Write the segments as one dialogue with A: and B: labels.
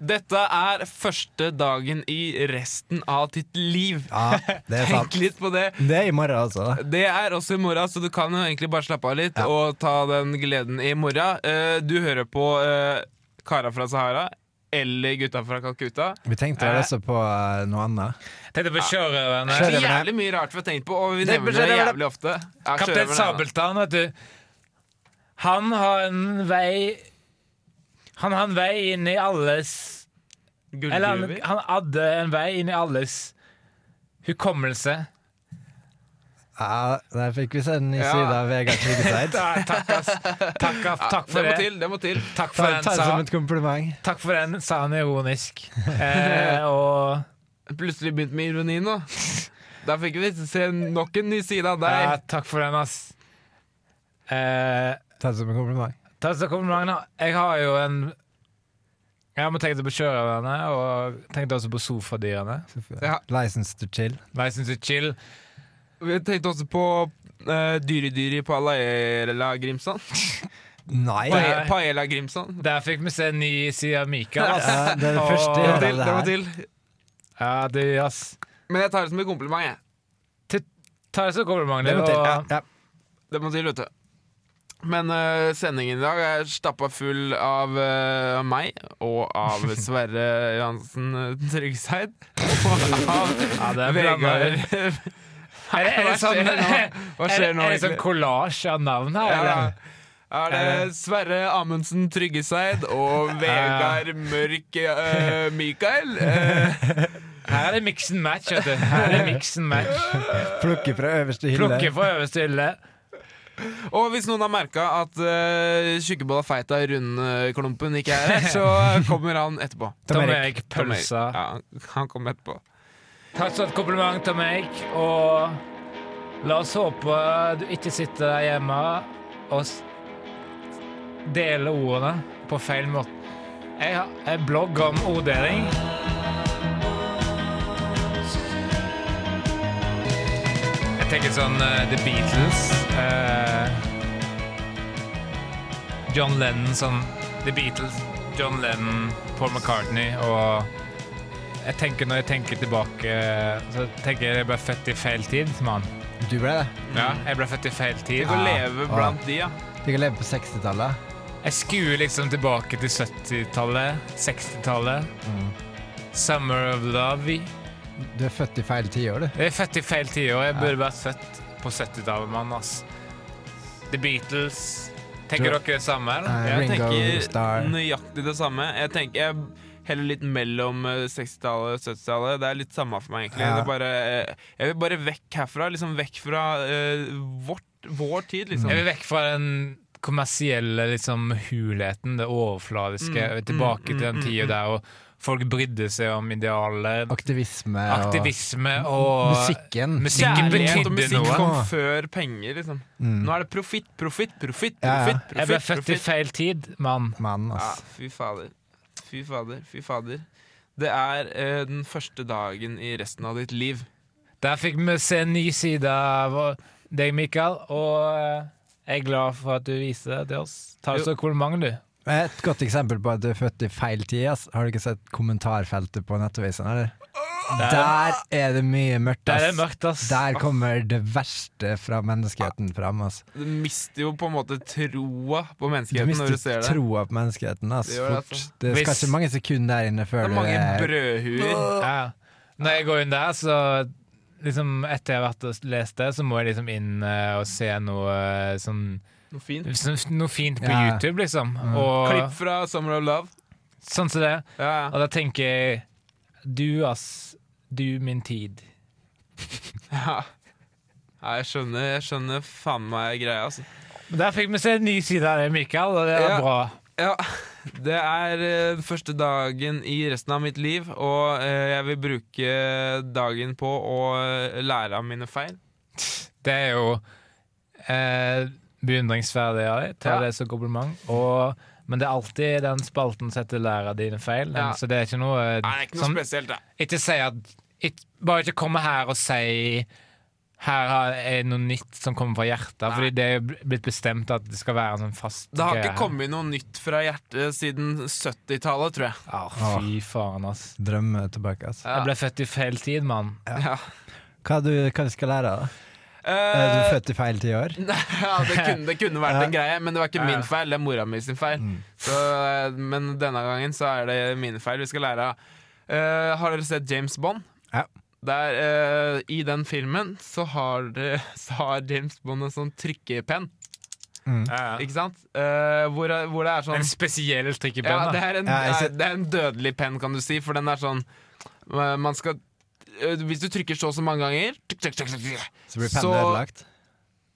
A: Dette er første dagen i resten av ditt liv.
B: Ja, det er sant.
A: Tenk litt på det.
B: Det er i morgen, altså.
A: Det er også i morgen, så du kan jo egentlig bare slappe av litt og ta den gleden i morgen. Eh, Du hører på eh, Kara fra Sahara eller Gutta fra Calcutta.
B: Vi tenkte å lese på eh, noe annet.
C: Tenkte på sjørøverne.
B: Sjø- Sjørøverne.
A: Jævlig mye rart vi har tenkt på, og vi
C: Det
A: nevner det
C: sjørøverne.
A: jævlig ofte. Ja,
C: Kaptein
A: sjørøverne,
C: Sabeltann, vet du. Han har en vei Han har en vei inn i alles
A: da.
C: Eller han,
A: Gullgruver.
C: han hadde en vei inn i alles hukommelse.
B: Ja, der fikk vi se en ny
A: Ja.
B: side av Vegard Tryggeseid.
C: Da, takk, ass. Takk, ass. takk
A: Det må
C: for det.
A: til, det må til.
C: Takk
B: Ta,
C: for den,
B: ta det
C: sa,
B: som et kompliment.
C: takk for den, sa han ironisk. Eh, og
A: Plutselig begynt med ironi nå. Da fikk vi se nok en ny side av
C: ja,
A: deg.
C: takk for den, ass. Eh,
B: Ta det som et kompliment.
C: Takk skal du komme, Magna. Jeg har jo en Jeg må tenke på sjørøverne, og tenkte også på sofadyrene.
A: Ja.
B: License to chill.
C: License to chill.
A: Vi tenkte også på uh, dyredyret på Alaela Grimsand.
B: Nei!
C: Nei.
A: Pae- Paella Grimsand.
C: Der fikk vi se en ny side av Mikael. ass.
B: Ja, det er det første
A: Det må
B: jeg
C: Ja,
A: til,
B: hører av
A: det må
B: det her.
A: til.
C: Ja, du, ass.
A: Men jeg tar det som en kompliment, jeg.
C: Ta det som kommer,
B: Det
C: Magna.
B: må til. Ja,
C: Og
B: ja.
A: Det må til, vet du. Men eh, sendingen i dag er stappa full av eh, meg og av Sverre Johansen eh, Tryggeseid. Og av
C: ja, det er
A: Vegard
C: Vegard. Er det, er det sånn,
A: Hva skjer nå? Hva skjer nå,
C: er det, er det sånn
A: egentlig?
C: kollasj av navn her?
A: Ja,
C: eller?
A: Er det Sverre Amundsen Tryggeseid og Vegard Mørk eh, Mikael? Eh,
C: Her er det mix and match. Vet du. Her er det mix and match.
B: Plukke fra øverste hylle.
C: Plukke fra øverste hylle.
A: og hvis noen har merka at uh, Tjukkebolla Feita Rundklumpen ikke er her, så kommer han etterpå.
C: Tom
B: Erik.
C: Erik
A: Tom Erik.
C: Pølsa.
A: Ja, han kommer etterpå.
C: Takk for et kompliment til meg, og la oss håpe du ikke sitter der hjemme og s- deler ordene på feil måte. Jeg har en blogg om orddeling. Jeg tenker sånn eh, The Beatles. eh, John Lennon sånn The Beatles, John Lennon, Paul McCartney og jeg tenker Når jeg tenker tilbake, så tenker jeg jeg ble født i feil tid, mann.
B: Du ble det.
A: Mm.
C: Ja, jeg ble født i feil tid.
A: Tenk å
B: Ja.
A: leve blant de, ja.
B: Fikk leve på 60-tallet.
C: Jeg skuer liksom tilbake til 70-tallet, 60-tallet. Summer of Love.
B: Mm. Du er født i feil tiår, du.
C: Jeg er født i feil tiår. Jeg burde vært født på 70-tallet, mann. ass. The Beatles. Tenker
B: Du-
C: dere det samme? eller?
B: Nei.
A: Jeg
B: Ringo
A: tenker
B: Starr.
A: nøyaktig det samme. Jeg tenker jeg heller litt mellom eh, 60-tallet og 70-tallet. Det er litt samme for meg, egentlig.
B: Ja.
A: Det er bare, eh, jeg vil bare vekk herfra. Liksom vekk fra eh, vårt, vår tid, liksom.
C: Jeg vil vekk fra den kommersielle liksom, hulheten, det overfladiske.
A: Mm,
C: Tilbake
A: mm,
C: til den
A: mm,
C: tida der og folk brydde seg om idealer.
B: Aktivisme
C: Aktivisme
A: Mm,
C: og
B: og musikken.
C: Musikken
A: Kjærlighet og musikk
C: betydde noe.
A: kom før penger, liksom.
B: Mm.
A: Nå er det profitt, profitt, profitt,
B: Ja, ja.
A: profitt.
C: Jeg ble
A: profitt,
C: født i
A: profitt.
C: feil tid, mann.
B: Mann,
A: Ja,
B: ass.
A: fy fader. Fy fader, fy fader. Det er eh, den første dagen i resten av ditt liv.
C: Der fikk vi se en ny side av deg, Mikael, og eh, jeg er glad for at du viser det til oss. Ta det
A: Jo.
C: som et kompliment, du.
B: Et godt eksempel på at du er født i feil tid. Ass. Har du ikke sett kommentarfeltet på nettavisen? Eller? Der er det mye mørkt.
C: Der
B: Ass.
C: er det mørkt, ass.
B: Der kommer det verste fra menneskeheten fram. Ass.
A: Du mister jo på en måte troa på
B: Du
A: menneskeheten når du
B: mister
A: ser det.
B: troa på menneskeheten ass,
A: Det gjør det,
B: fort.
A: altså.
B: Det skal
C: Hvis-
B: ikke mange sekunder der inne
A: Det
B: før
A: er
B: du eh,
A: mange
B: er
A: brødhuer.
C: Ja. Når jeg går inn der, så liksom Etter jeg har vært og lest det, så må jeg liksom inn eh, og se noe eh, sånn
A: Noe fint.
C: liksom, Noe fint på
B: Ja.
C: YouTube, liksom.
A: Mm.
C: Og
A: Klipp fra Summer of Love.
C: sånn som det.
A: Ja,
C: Og da tenker jeg Du, ass. Du, min tid.
A: ja. ja jeg skjønner, jeg skjønner faen meg greia, altså.
C: Der fikk vi se en ny side av deg, Mikael, og det er
A: Ja.
C: bra.
A: Ja, det er eh, den første dagen i resten av mitt liv, og eh, jeg vil bruke dagen på å eh, lære av mine feil.
C: Det er jo eh, beundringsverdig av deg. Ta
A: Ja.
C: det som kompliment. Og Men det er alltid den spalten som heter 'lær av dine feil'.
A: Ja.
C: Så det er ikke
A: Nei,
C: noe,
A: det er ikke noe
C: som,
A: spesielt, da.
C: Ikke si at ikke, Bare ikke komme her og si her har- er noe nytt som kommer fra hjertet. Fordi det er blitt bestemt at det skal være en sånn fast
A: Det har
C: greie
A: ikke
C: her.
A: kommet noe nytt fra hjertet siden 70-tallet, tror jeg.
C: Ah, fy faen, ass.
B: Drømme tilbake, altså.
A: Ja.
C: Jeg ble født i feil tid, mann.
A: Ja.
B: Hva du, hva du skal lære, da? Er du
A: Eh,
B: født i feil tiår?
A: ja, det kunne, det kunne vært en greie, men det var ikke
C: Ja.
A: min feil. Det er mora mi sin feil.
B: Mm.
A: Så, eh, men denne gangen så er det mine feil vi skal lære av. Eh, har dere sett James Bond?
B: Ja.
A: Der, eh, I den filmen så har, det, så har James Bond en sånn trykkepenn, ikke sant? Eh, hvor, hvor det er sånn
C: En spesiell trikkepenn.
A: Ja,
C: da.
A: det er, en,
B: Ja, jeg
A: det
B: ser-
A: er- det er en dødelig penn, kan du si, for den er sånn øh, Man skal øh, Hvis du trykker så og så mange ganger tuk, tuk, tuk, tuk, tuk.
B: Så blir pennen
A: Så-
B: ødelagt?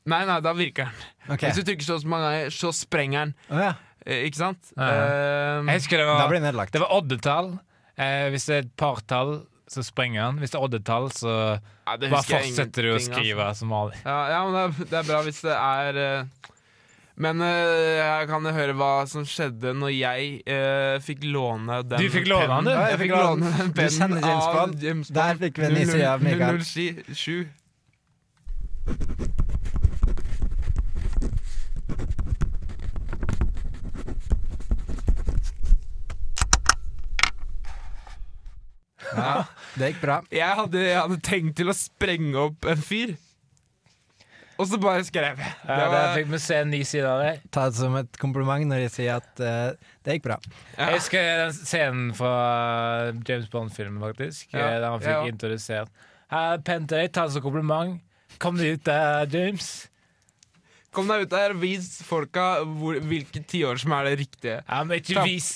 A: Nei, nei, da virker den.
B: Ok.
A: Hvis du trykker så og så mange ganger, så sprenger den.
B: Å ja.
A: Eh, Ikke sant?
C: Ja.
A: Ehm,
C: Jeg husker det
B: Da
C: var,
B: blir den ødelagt.
C: det var oddetall. Eh, hvis det er et partall, så sprenger han. Hvis det er oddetall, så
A: nei, det
C: bare
A: husker jeg
C: fortsetter du å
A: ingenting, altså.
C: skrive som vanlig.
A: Ja, ja men det er, det er bra hvis det er eh, Men eh, jeg kan høre hva som skjedde når jeg eh, fikk låne den
C: Du fikk låne den, du?
A: pennen.
B: Ja,
A: Jeg fikk låne den
B: Du kjenner
A: pennen
B: James
A: av
B: Bond.
A: James Bond.
B: Der fikk vi en ny side av Mikael.
A: 007.
B: Ja, det gikk bra.
A: Jeg hadde, jeg hadde tenkt til å sprenge opp en fyr. Og så bare skrev jeg. Det
C: Ja, der
A: var,
C: fikk vi se en ny side av deg.
B: Ta det som et kompliment når jeg sier at eh, det gikk bra.
A: Ja.
C: Jeg husker den scenen fra James Bond-filmen, faktisk.
A: Ja,
C: eh, Der han
A: ja.
C: fikk introdusert. Her, penn til deg, ta det som sånn kompliment. Kom deg ut der, James.
A: Kom deg ut der, vis folka hvor, hvilke tiår som er det riktige.
C: Ja, men ikke
A: Ta-
C: vis,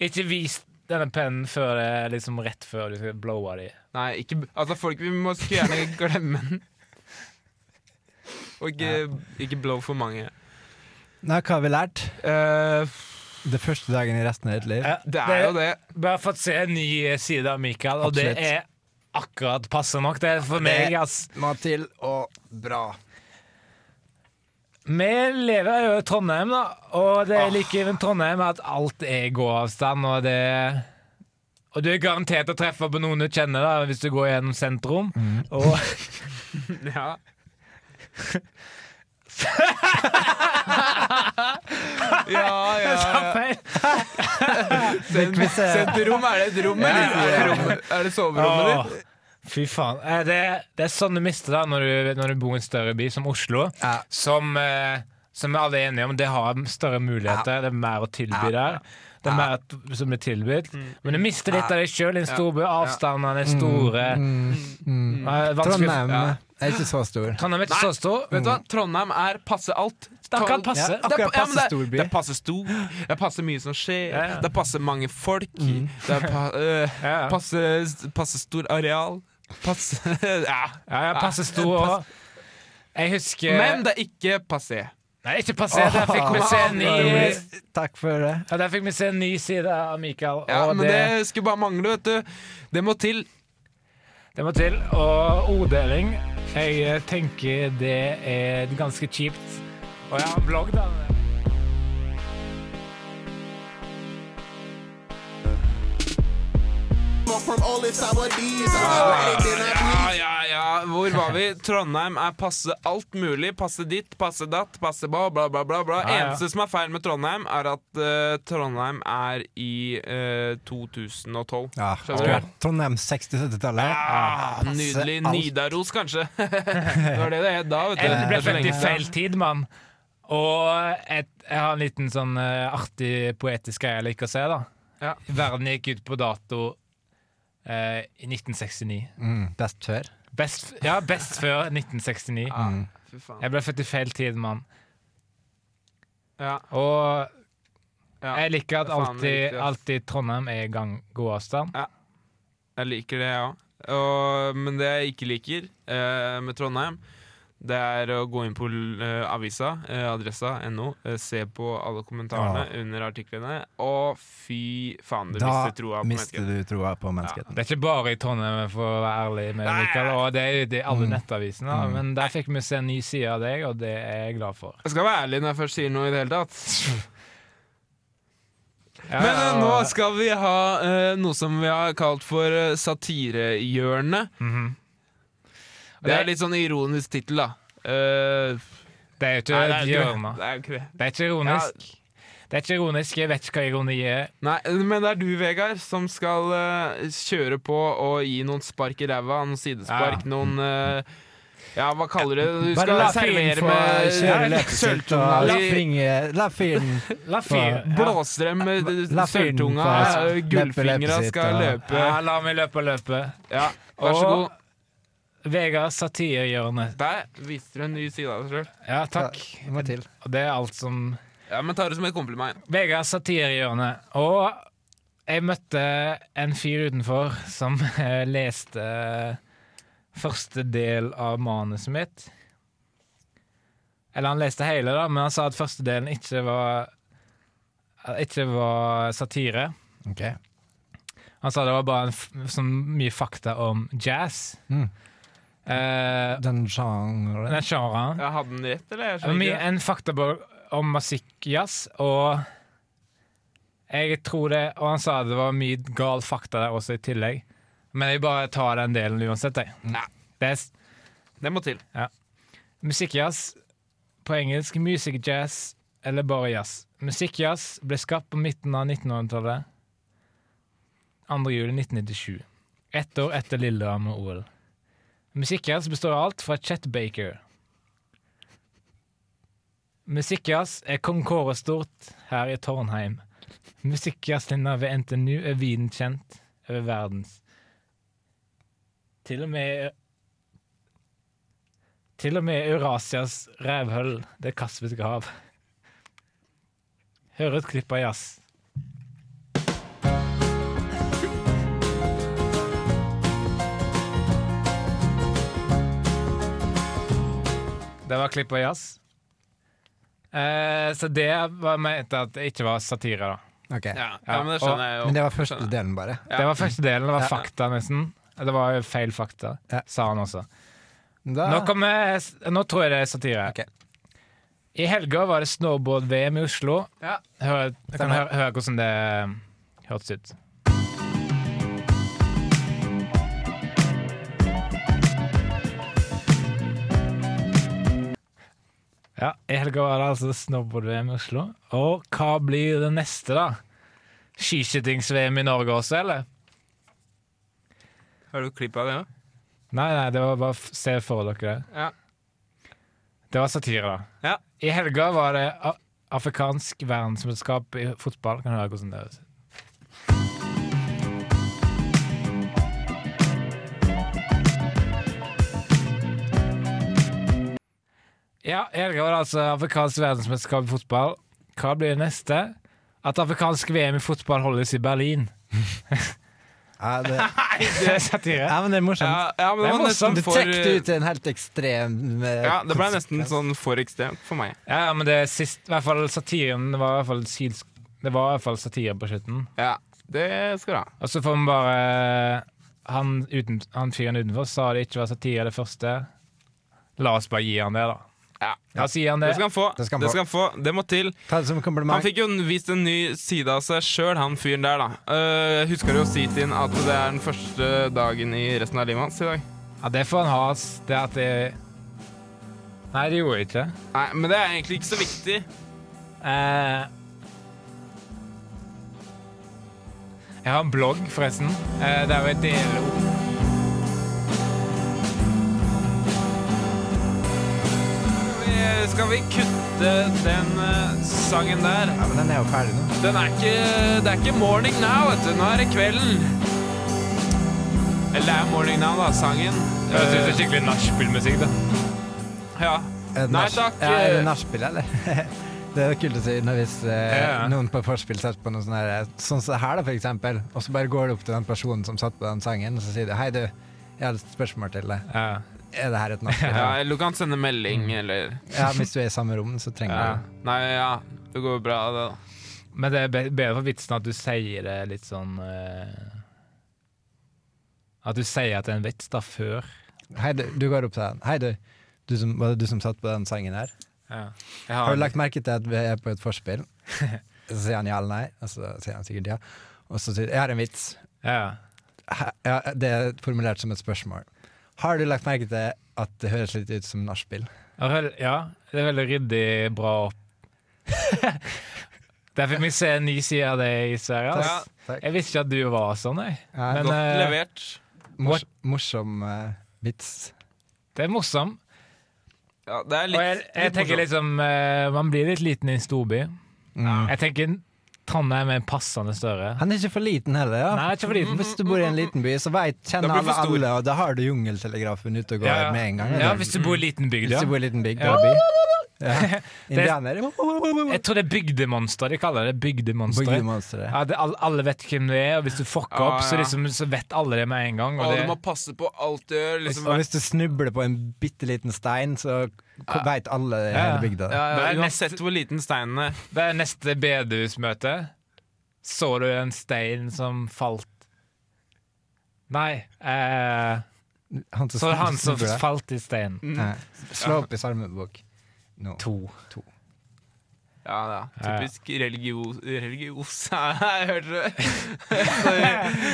C: ikke vis denne pennen før det er liksom rett før du skal blowe dem.
A: Nei, ikke, altså folk vi må skulle gjerne glemme den. Og ikke, ikke blow for mange.
B: Nå, hva har vi lært?
A: Eh,
B: Det første dagen i resten av ditt liv.
C: Ja,
A: det er jo det.
C: Bare fått se en ny eh, side av Mikael, og
B: Absolutt.
C: det er akkurat passe nok det er for meg. ass.
B: Må til og bra.
C: Vi lever jo i Trondheim, da, og det er like ved Trondheim at alt er gåavstand. Og det Og du er garantert å treffe på noen du kjenner da, hvis du går gjennom sentrum. Og
A: Ja. ja, ja, ja. Send,
B: vi se.
A: rom, er det et rom, eller? Er det, rom, er det soverommet ditt?
C: Åh, Fy faen. Eh, Det, det er sånn du mister det når du, når du bor i en større by som Oslo.
B: Ja.
C: Som, eh, som vi alle er enige om, det har større muligheter. Det er mer å tilby der. Det er mer t- som blir tilbudt. Men du mister litt av deg sjøl i en storby. Avstandene er store. Eh, vanskelig-
B: Mm, Trondheim
A: Ja.
B: er ikke så stor.
C: Trondheim er ikke så stor.
A: Vet du hva? Trondheim er passe alt.
C: Det kan passe.
B: Ja,
A: Det er,
B: akkurat
A: ja, men
B: passe stor
A: det,
B: by.
A: det er passe stor. Det er passe mye som skjer.
C: Ja, ja.
A: Det er passe mange folk. Det er pa, øh,
C: Ja, ja.
A: passe, passe stor areal. Passe ja.
C: Ja, ja, passe stor òg. Jeg husker
A: Men det er ikke passé.
C: Nei, ikke passe. Der fikk vi se en ny
B: Takk for det.
C: ja, Der fikk vi se en ny side av Mikael.
A: Ja,
C: og
A: men det skulle bare mangle, vet du. Det må til.
C: Det må til. Og orddeling Jeg eh, tenker det er ganske kjipt. Og jeg har en blogg, da.
D: up from all its our deeds. I'm ready, then I
A: Ja, ja, ja. Hvor var vi? Trondheim er passe alt mulig. Passe ditt, passe datt, passe bla, bla, bla. bla, bla.
C: Ja, ja.
A: Eneste som er feil med Trondheim, er at eh, Trondheim er i eh, 2012.
B: Ja,
A: Skjønner
B: skulle
A: du?
B: vært Trondheim 60-70-tallet.
A: Ah,
B: passe
A: nydelig.
B: alt.
A: Nidaros, kanskje. det var det det het da, vet du.
C: Jeg
A: Det er så
C: ble født i
A: lenge siden.
C: feil tid, mann. Og et, jeg har en liten sånn eh, artig poetisk greie jeg liker å se, da.
A: Ja.
C: Verden gikk ut på dato eh, i 1969.
B: Mm, best før.
C: Best, f- ja, best før 1969.
A: Ja, fy faen.
C: Jeg ble født i feil tid, mann.
A: Ja,
C: Og
A: ja.
C: jeg liker at
A: det er faen meg
C: alltid,
A: riktig, ass.
C: alltid Trondheim er gang gåavstand.
A: Jeg liker det, jeg òg. Men det jeg ikke liker eh, med Trondheim, det er å gå inn på eh, avisa, eh, adressa, no, eh, se på alle kommentarene under artiklene, og fy faen, du
B: Da
A: mister troa på
B: mister
A: mennesket.
B: du troa på menneskeheten.
C: Det er ikke bare i Trondheim, for å være ærlig med deg, Mikael, og det er jo i alle nettavisene, da, men der fikk vi se en ny side av deg, og det er jeg glad for.
A: Jeg skal være ærlig når jeg først sier noe i det hele tatt. Men eh, nå skal vi ha eh, noe som vi har kalt for eh, satirehjørnet.
C: Mhm.
A: Det er litt sånn ironisk tittel, da. Eh,
C: Det er jo ikke
A: nei,
C: et
A: det er jo ikke
C: hjørne.
A: det. Det er jo ikke det.
C: Det er ikke ironisk. Det er ikke ironisk. Jeg vet ikke hva ironi er.
A: Nei, men det er du, Vegard, som skal eh, kjøre på og gi noen spark i ræva. Noen sidespark, noen eh, Ja, hva kaller du det? Du
B: Bare la
A: skal
B: fyren
A: servere
B: få
A: med
B: kjøre
A: Nei,
B: løpet sitt, og
A: sølvtunga
B: la
A: di.
B: finger- la fyren
C: La fyr.
B: Ja.
C: Ja.
A: Blåser dem med
B: La fyren
A: sølvtunga.
B: få
A: eh,
B: løpe
A: Gullfingra
B: løpet sitt,
A: skal
B: og-
A: løpe.
C: Ja, la meg løpe løpet.
A: Ja, vær så
C: Og-
A: god.
C: Vegard, satirehjørnet.
A: Der viste du en ny side av deg sjøl.
C: Ja, takk.
B: Ja, må til.
C: Og det er alt som
A: Ja, men tar det som et kompliment.
C: Vegard satirehjørnet. Og jeg møtte en fyr utenfor som eh, leste eh, første del av manuset mitt. Eller han leste hele, da, men han sa at første delen ikke var eh, ikke var satire.
B: Ok.
C: Han sa det var bare en f sånn mye fakta om jazz.
B: Mm.
C: Eh,
B: Den sjangeren
C: den sjangeren.
A: Jeg hadde den rett, eller? Jeg
C: Det var
A: skjønner
C: mye
A: ikke.
C: en faktabok om musikkjazz, og jeg tror det Og han sa det var mye gal fakta der også i tillegg. Men jeg bare tar den delen uansett, jeg.
A: Nei.
C: Det er s-
A: Det må til.
C: musikkjazz på engelsk, music jazz eller bare jazz. Musikkjazz ble skapt på midten av 1900-tallet. 2. juli 1997. Ett år etter Lillehammer-OL. Musikkjazz består av alt fra Chet Baker. Musikkjazz er Kong Kåre stort her i Trondheim. Musikkjazzlinja ved NTNU er viden kjent over verdens. Til og med til og med Eurasias rævhøl, det kaspiske hav. Hør et klipp av jazz. Det var klipp av jazz. Eh, så det var ment at det ikke var satire, da.
B: Ok.
A: Ja, ja, men det
C: og-
A: skjønner jeg jo.
B: Men det var første delen, bare.
A: Ja.
C: Det var første delen. Det var
B: Ja.
C: fakta, nesten. Det var feil fakta,
B: Ja.
C: sa han også.
B: Da,
C: Nå, kommer, nå tror jeg det er satire.
B: Ok.
C: I helga var det snowboard-VM i Oslo.
A: Ja.
C: Hør, jeg kan
B: Stemmer.
C: høre, høre hvordan det eh, hørtes ut. Ja, i helga var det altså snowboard-VM i Oslo. Og hva blir det neste, da? Skiskytings-VM i Norge også, eller?
A: Har du klipp av det òg?
C: Nei, nei, det var bare f se for dere det.
A: Ja.
C: Det var satire, da.
A: Ja.
C: I helga var det a- afrikansk verdensmesterskap i fotball. Kan du høre hvordan det høres ut? Ja, i helga var det altså afrikansk verdensmesterskap i fotball. Hva blir det neste? At afrikansk VM i fotball holdes i Berlin.
B: ja, det,
C: Det er satire.
B: ja, men det er morsomt.
A: Ja, ja, men det
C: Det
A: var
C: er morsomt.
A: nesten
B: Du
A: for
B: trekker det ut til en helt ekstrem eh,
A: eh, Ja, det ble nesten
B: konsekvens.
A: sånn for ekstremt for meg.
C: Ja, men det er sist, i hvert fall satiren Det var i hvert fall, syls- det var i hvert fall satire på slutten.
A: Ja, det skal du ha.
C: Og så får vi bare Han, uten, han fyren utenfor sa det ikke var satire det første. La oss bare gi han det, da.
A: Ja.
C: La oss gi han
A: Det
C: det.
A: skal han få.
B: Det
A: Det
B: skal
A: skal han
B: han
A: få. Det,
B: få.
A: må til.
B: Ta det som en
A: Han
B: kompliment.
A: fikk jo vist en ny side av seg sjøl, han fyren der, da. Eh, husker du å si til ham at det er den første dagen i resten av livet hans i dag?
C: Ja, det får han ha, ass. Det at det Nei, det gjorde jeg ikke.
A: Nei, men det er egentlig ikke så viktig.
C: Eh, jeg har en blogg, forresten, eh, der jeg deler ord.
A: Skal vi, skal vi kutte den eh, sangen der?
B: Ja, men den er jo ferdig nå.
A: Den er ikke Det er ikke morning now, vet du. Nå er det kvelden. Eller det er morning now, da, sangen.
C: Jeg synes det er skikkelig nachspiel-musikk, da.
A: Eh, ja.
B: Er det
A: Nei
B: nach-
A: takk.
B: Ja, er det
A: eh,
B: nachspiel, eller? det er jo kult å si når hvis eh,
C: Ja.
B: noen på forspill setter på noe sånn her, sånn som her, da, for eksempel, og så bare går du opp til den personen som satt på den sangen, og så sier du Hei, du, jeg har et spørsmål til deg.
C: Ja.
B: Er det her et nachspiel?
A: Ja, eller du kan sende melding, eller
B: ja, hvis du er i samme rom, så trenger
C: Ja.
B: du
A: Nei, ja. Det går bra, det, da.
C: Men det er be- bedre for vitsen at du sier det litt sånn eh, At du sier at det er en vits da før.
B: Hei, du, du går opp til den. Hei, du. Du som, var det du som satt på den sangen her?
C: Jeg har,
B: Har du lagt merke til at vi er på et forspill? Så sier han ja eller nei, og så sier han sikkert ja. Og så sier jeg har en vits.
C: Ja.
B: Hæ- Ja, det er formulert som et spørsmål. Har du lagt merke til at det høres litt ut som nachspiel?
C: Og vel- ja, det er veldig ryddig bra opp. Der fikk vi se en ny side av det i Sverige.
A: Ja.
C: ass. Jeg visste ikke at du var sånn, jeg.
B: Ja,
C: Men,
A: Godt
C: eh,
A: levert.
B: mors morsom eh, vits.
C: det er morsomt.
A: Ja, det er
C: Og
A: litt,
C: jeg, jeg
A: litt sånn
C: tenker
A: morsomt.
C: liksom eh, Man blir litt liten i en storby.
B: Mm.
C: Jeg tenker Trondheim er passende større. Mm.
B: Han er ikke for liten heller. Ja.
C: Nei, ikke for liten.
B: Hvis du bor i en liten by, så vet, kjenner
A: Da blir
B: alle
A: for stor.
B: alle, og da har du jungeltelegrafen ute og går
C: Ja, ja.
B: med en gang.
C: Ja,
B: eller?
C: hvis du bor i liten bygd,
B: Hvis
C: ja.
B: du bor i en liten bygd,
C: Ja.
B: da by. Ja. Indianere.
C: Jeg tror det er bygdemonster de kaller det. Bygdemonster.
B: Boogie-monstre.
C: Ja, det, alle, alle vet hvem du er, og hvis du fucker
A: Ja,
C: opp,
A: ja.
C: så, liksom, så vet alle det med en gang.
A: Og
C: Og
A: du
C: det,
A: må passe på alt du gjør. Liksom,
B: Og hvis du snubler på en bitte liten stein, så ko- vet alle i
C: Ja.
B: hele bygda.
A: ja, ja,
C: Det er
A: uansett hvor liten steinen er.
C: det er neste bedehusmøte. Så du en stein som falt Nei. Eh,
B: Han som
C: så det er han som
B: snubler der.
C: falt i steinen.
A: Mm.
B: Ja. Slå opp i salmebok. No.
C: To.
A: Ja, ja.
C: Ja, ja.
A: Typisk religios... Religios Jeg hørte det.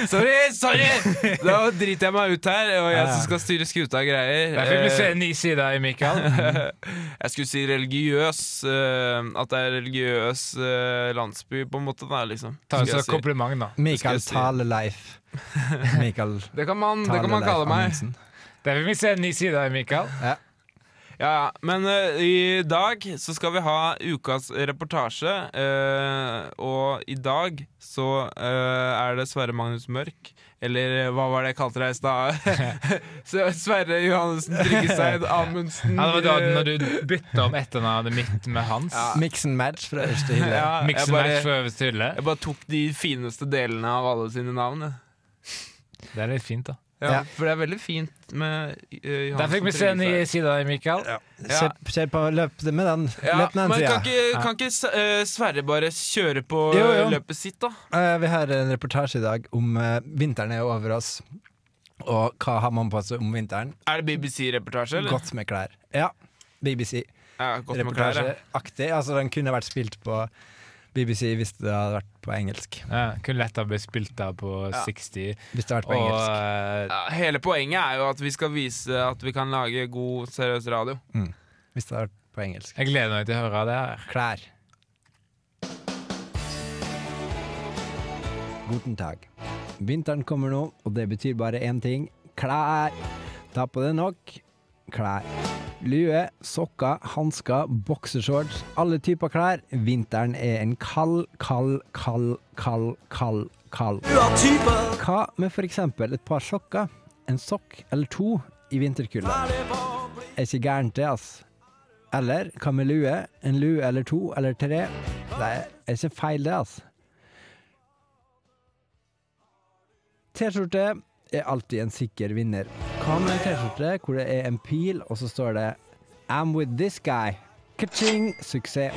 A: Sorry, sorry! sorry! Da driter jeg meg ut her, og jeg som skal styre skuta og greier.
C: Der fikk vi se
A: Eh,
C: en ny side av Mikael.
A: Jeg skulle si religiøs. eh, At det er religiøs eh, landsby, på en måte. Da, liksom.
C: Ta
A: Skulle
C: oss
A: jeg si.
C: et kompliment, da.
A: Skal
B: Mikael
A: jeg
B: Taleleif. Mikael
A: Det kan man, det kan man kalle
B: Taleleif
A: meg.
B: Amundsen.
C: Der fikk vi se en ny side av Mikael.
A: Ja, ja. Men eh, i dag så skal vi ha ukas reportasje. eh, og i dag så eh, er det Sverre Magnus Mørk. Eller eh, hva var det jeg kalte deg i stad? Så Sverre Johannessen Tryggeseid Amundsen.
C: Ja, det var da
A: eh,
C: når du bytta om etternavnet mitt med hans.
A: Ja.
B: Mix and match fra øverste hylle.
A: ja, jeg,
C: Mixen match
A: bare,
C: for øverste hylle.
A: jeg bare tok de fineste delene av alle sine navn. jeg.
C: Det er litt fint, da.
A: Ja,
B: Ja.
A: For det er veldig fint med uh, Johansen
C: Der fikk vi se en ny
A: Tryggeseid.
C: side av Mikael.
A: Ja.
B: Kjør, kjør på, løp med den.
A: Ja,
B: løp den
A: men
B: sida.
A: kan ikke, kan ikke S- eh, Sverre bare kjøre på
B: Jo, jo.
A: løpet sitt, da?
B: Eh, vi har en reportasje i dag om eh, vinteren er over oss. Og hva har man på seg om vinteren?
A: Er det BBC-reportasje, eller?
B: Godt med klær. Ja, BBC-reportasjeaktig.
A: Ja, godt med klær, ja.
B: Altså, den kunne vært spilt på BBC hvis det hadde vært på engelsk.
C: Ja, kunne lett ha blitt spilt der på
A: Ja.
C: 60.
B: Hvis det hadde vært på
C: Og
B: engelsk.
C: eh,
A: Ja, Hele poenget er jo at vi skal vise at vi kan lage god, seriøs radio.
B: Hvis det hadde vært på engelsk.
C: jeg gleder meg til å høre det her.
B: Klær. Guten tag. Vinteren kommer nå, og det betyr bare én ting. Klær! Ta på deg nok klær. Lue, sokker, hansker, boksershorts. Alle typer klær. Vinteren er en kald, kald, kald, kald, kald, kald. Hva med f.eks. et par sokker? En sokk eller to i vinterkulda? Er ikke gærent det, ass. Eller hva med lue? En lue eller to eller tre? Det er ikke feil, altså. det, ass. T-skjorte er alltid en sikker vinner. Hva med en T-skjorte hvor det er en pil, og så står det I'm with this guy. Ka-ching! Suksess.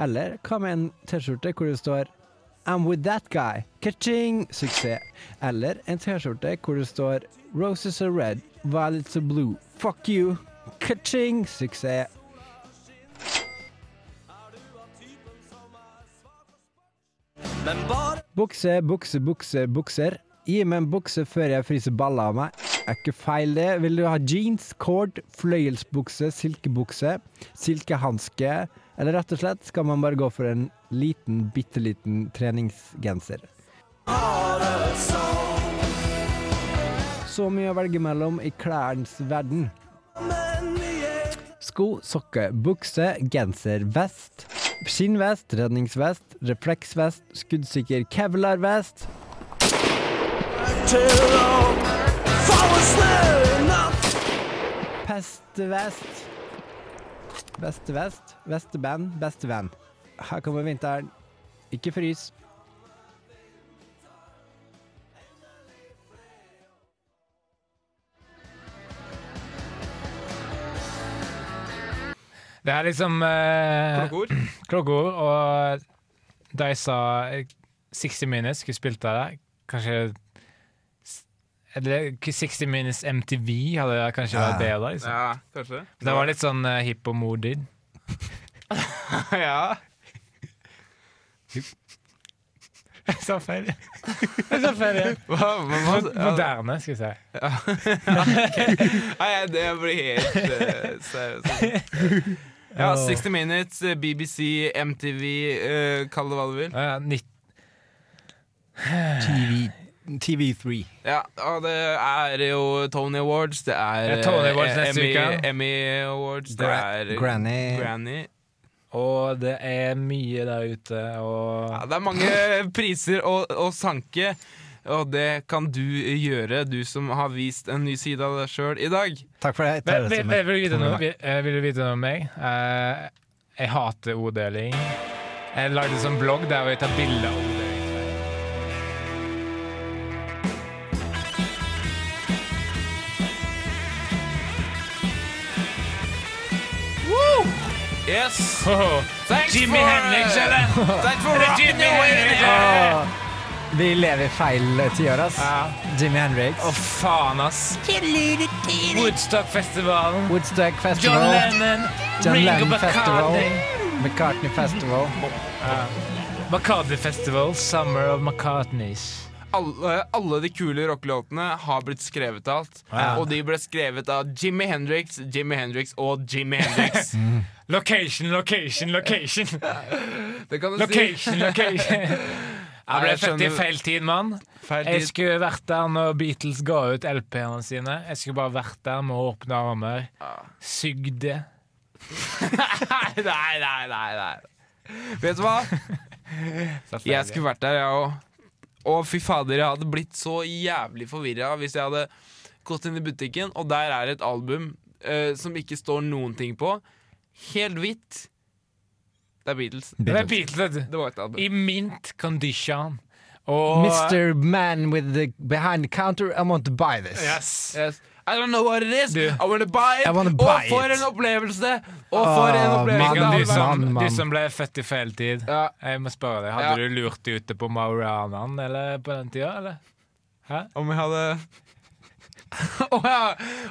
B: Eller hva med en T-skjorte hvor det står I'm with that guy. Ka-ching! Suksess. Eller en T-skjorte hvor det står Roses are red, violets are blue. Fuck you! Ka-ching! Suksess. Bukse, bukse, bukse, bukser. Gi meg en bukse før jeg fryser baller av meg. Er ikke feil, det. Vil du ha jeans, cord, fløyelsbukse, silkebukse, silkehanske? Eller rett og slett skal man bare gå for en liten, bitte liten treningsgenser? Så mye å velge mellom i klærens verden. Sko, sokker, bukse, genser, vest, skinnvest, redningsvest, refleksvest, skuddsikker kevlarvest. Pestevest. Bestevest, besteband, bestevenn. Her kommer vinteren. Ikke frys.
C: Det er liksom eh,
A: Klokkord.
C: klokkord, og da jeg sa eh, 60 Minutes skulle spilt der, der, kanskje s- eller 60 Minutes MTV hadde kanskje vært bedre. Liksom.
A: Ja, kanskje.
C: Det var litt sånn eh, hipp og modig.
A: ja.
C: Jeg sa feil. Jeg sa feil igjen.
A: Hva, hva, hva,
C: Moderne, skal jeg si.
A: Nei, jeg- det blir helt eh, seriøst. Ja, 60 Minutes, eh, BBC, MTV, eh, kall det hva du vil.
C: Ja, nitt-
B: TV, TV3.
A: Ja, og det er jo Tony Awards, det er
C: Det er Tony Awards
A: eh,
C: neste
A: Emmy,
C: uke.
A: Emmy Awards, det
B: Gra-
A: er
B: Granny.
A: Granny.
C: Og det er mye der ute,
A: Ja,
C: og
A: det er mange priser å, å sanke, og det kan du gjøre, du som har vist en ny side av deg sjøl i dag.
B: Takk for det.
C: Vil,
B: Therese,
C: vil,
B: men-
C: vil, du vite noe?
B: Takk.
C: Vil, eh, vil du vite noe om meg? Eh, jeg hater orddeling. Jeg lagde en sånn blogg der hvor jeg tar bilder av orddeling.
A: Yes!
C: Hoho.
A: Thanks
C: Jimi
A: for,
C: Hendrix,
A: eh,
C: eller?
A: Thanks for
C: det
A: rocking
C: Jimi
A: the way!
C: Hendrix,
A: Yeah.
B: Åh, Vi lever i feil tiår, ass.
A: Ah.
C: Ja.
B: Jimmy Hendrix.
C: Å, faen, ass. Woodstock-festivalen.
B: Woodstock Festival.
C: John Lennon.
B: John
C: Ringo
B: Lennon Festival.
C: McCartney.
B: McCartney Festival.
C: McCartney Festival, Summer of McCartneys.
A: alle, alle de kule rockelåtene har blitt skrevet av alt.
C: Ja.
A: Og de ble skrevet av Jimmy Hendrix, Jimi Hendrix og Jimmy Hendrix.
C: Location, location, location.
A: Det kan du si.
C: Location, location. Jeg ble
A: Jeg
C: født i
A: skjønner-
C: feil tid, mann.
A: Feil
C: Jeg
A: tid.
C: skulle vært der når Beatles ga ut LP-ene sine. Jeg skulle bare vært der med åpne armer. Sugd det.
A: Nei, nei, nei, nei, nei. Vet du hva? Jeg skulle vært der, jeg òg. Og fy fader, jeg hadde blitt så jævlig forvirra hvis jeg hadde gått inn i butikken, og der er et album eh, som ikke står noen ting på. Helt hvitt. Det er Beatles.
C: Det er Beatles, vet du.
A: Det var et album.
C: I mint condition. Og
B: Mr. Man with the behind the counter, I want to buy this.
C: Yes.
A: Yes. I don't know what it is.
C: Du.
A: I wanna buy it.
B: I wanna
A: og
B: buy
A: for
B: it.
A: en opplevelse! Og for en
B: Ah,
A: opplevelse!
B: mann,
C: Du som,
B: mann, mann.
C: du som ble født i feil tid.
A: Ja.
C: Jeg må spørre deg,
A: Ja.
C: Hadde du lurt ute på Mauranaen eller på den tida, eller?
A: Om jeg hadde Å ja.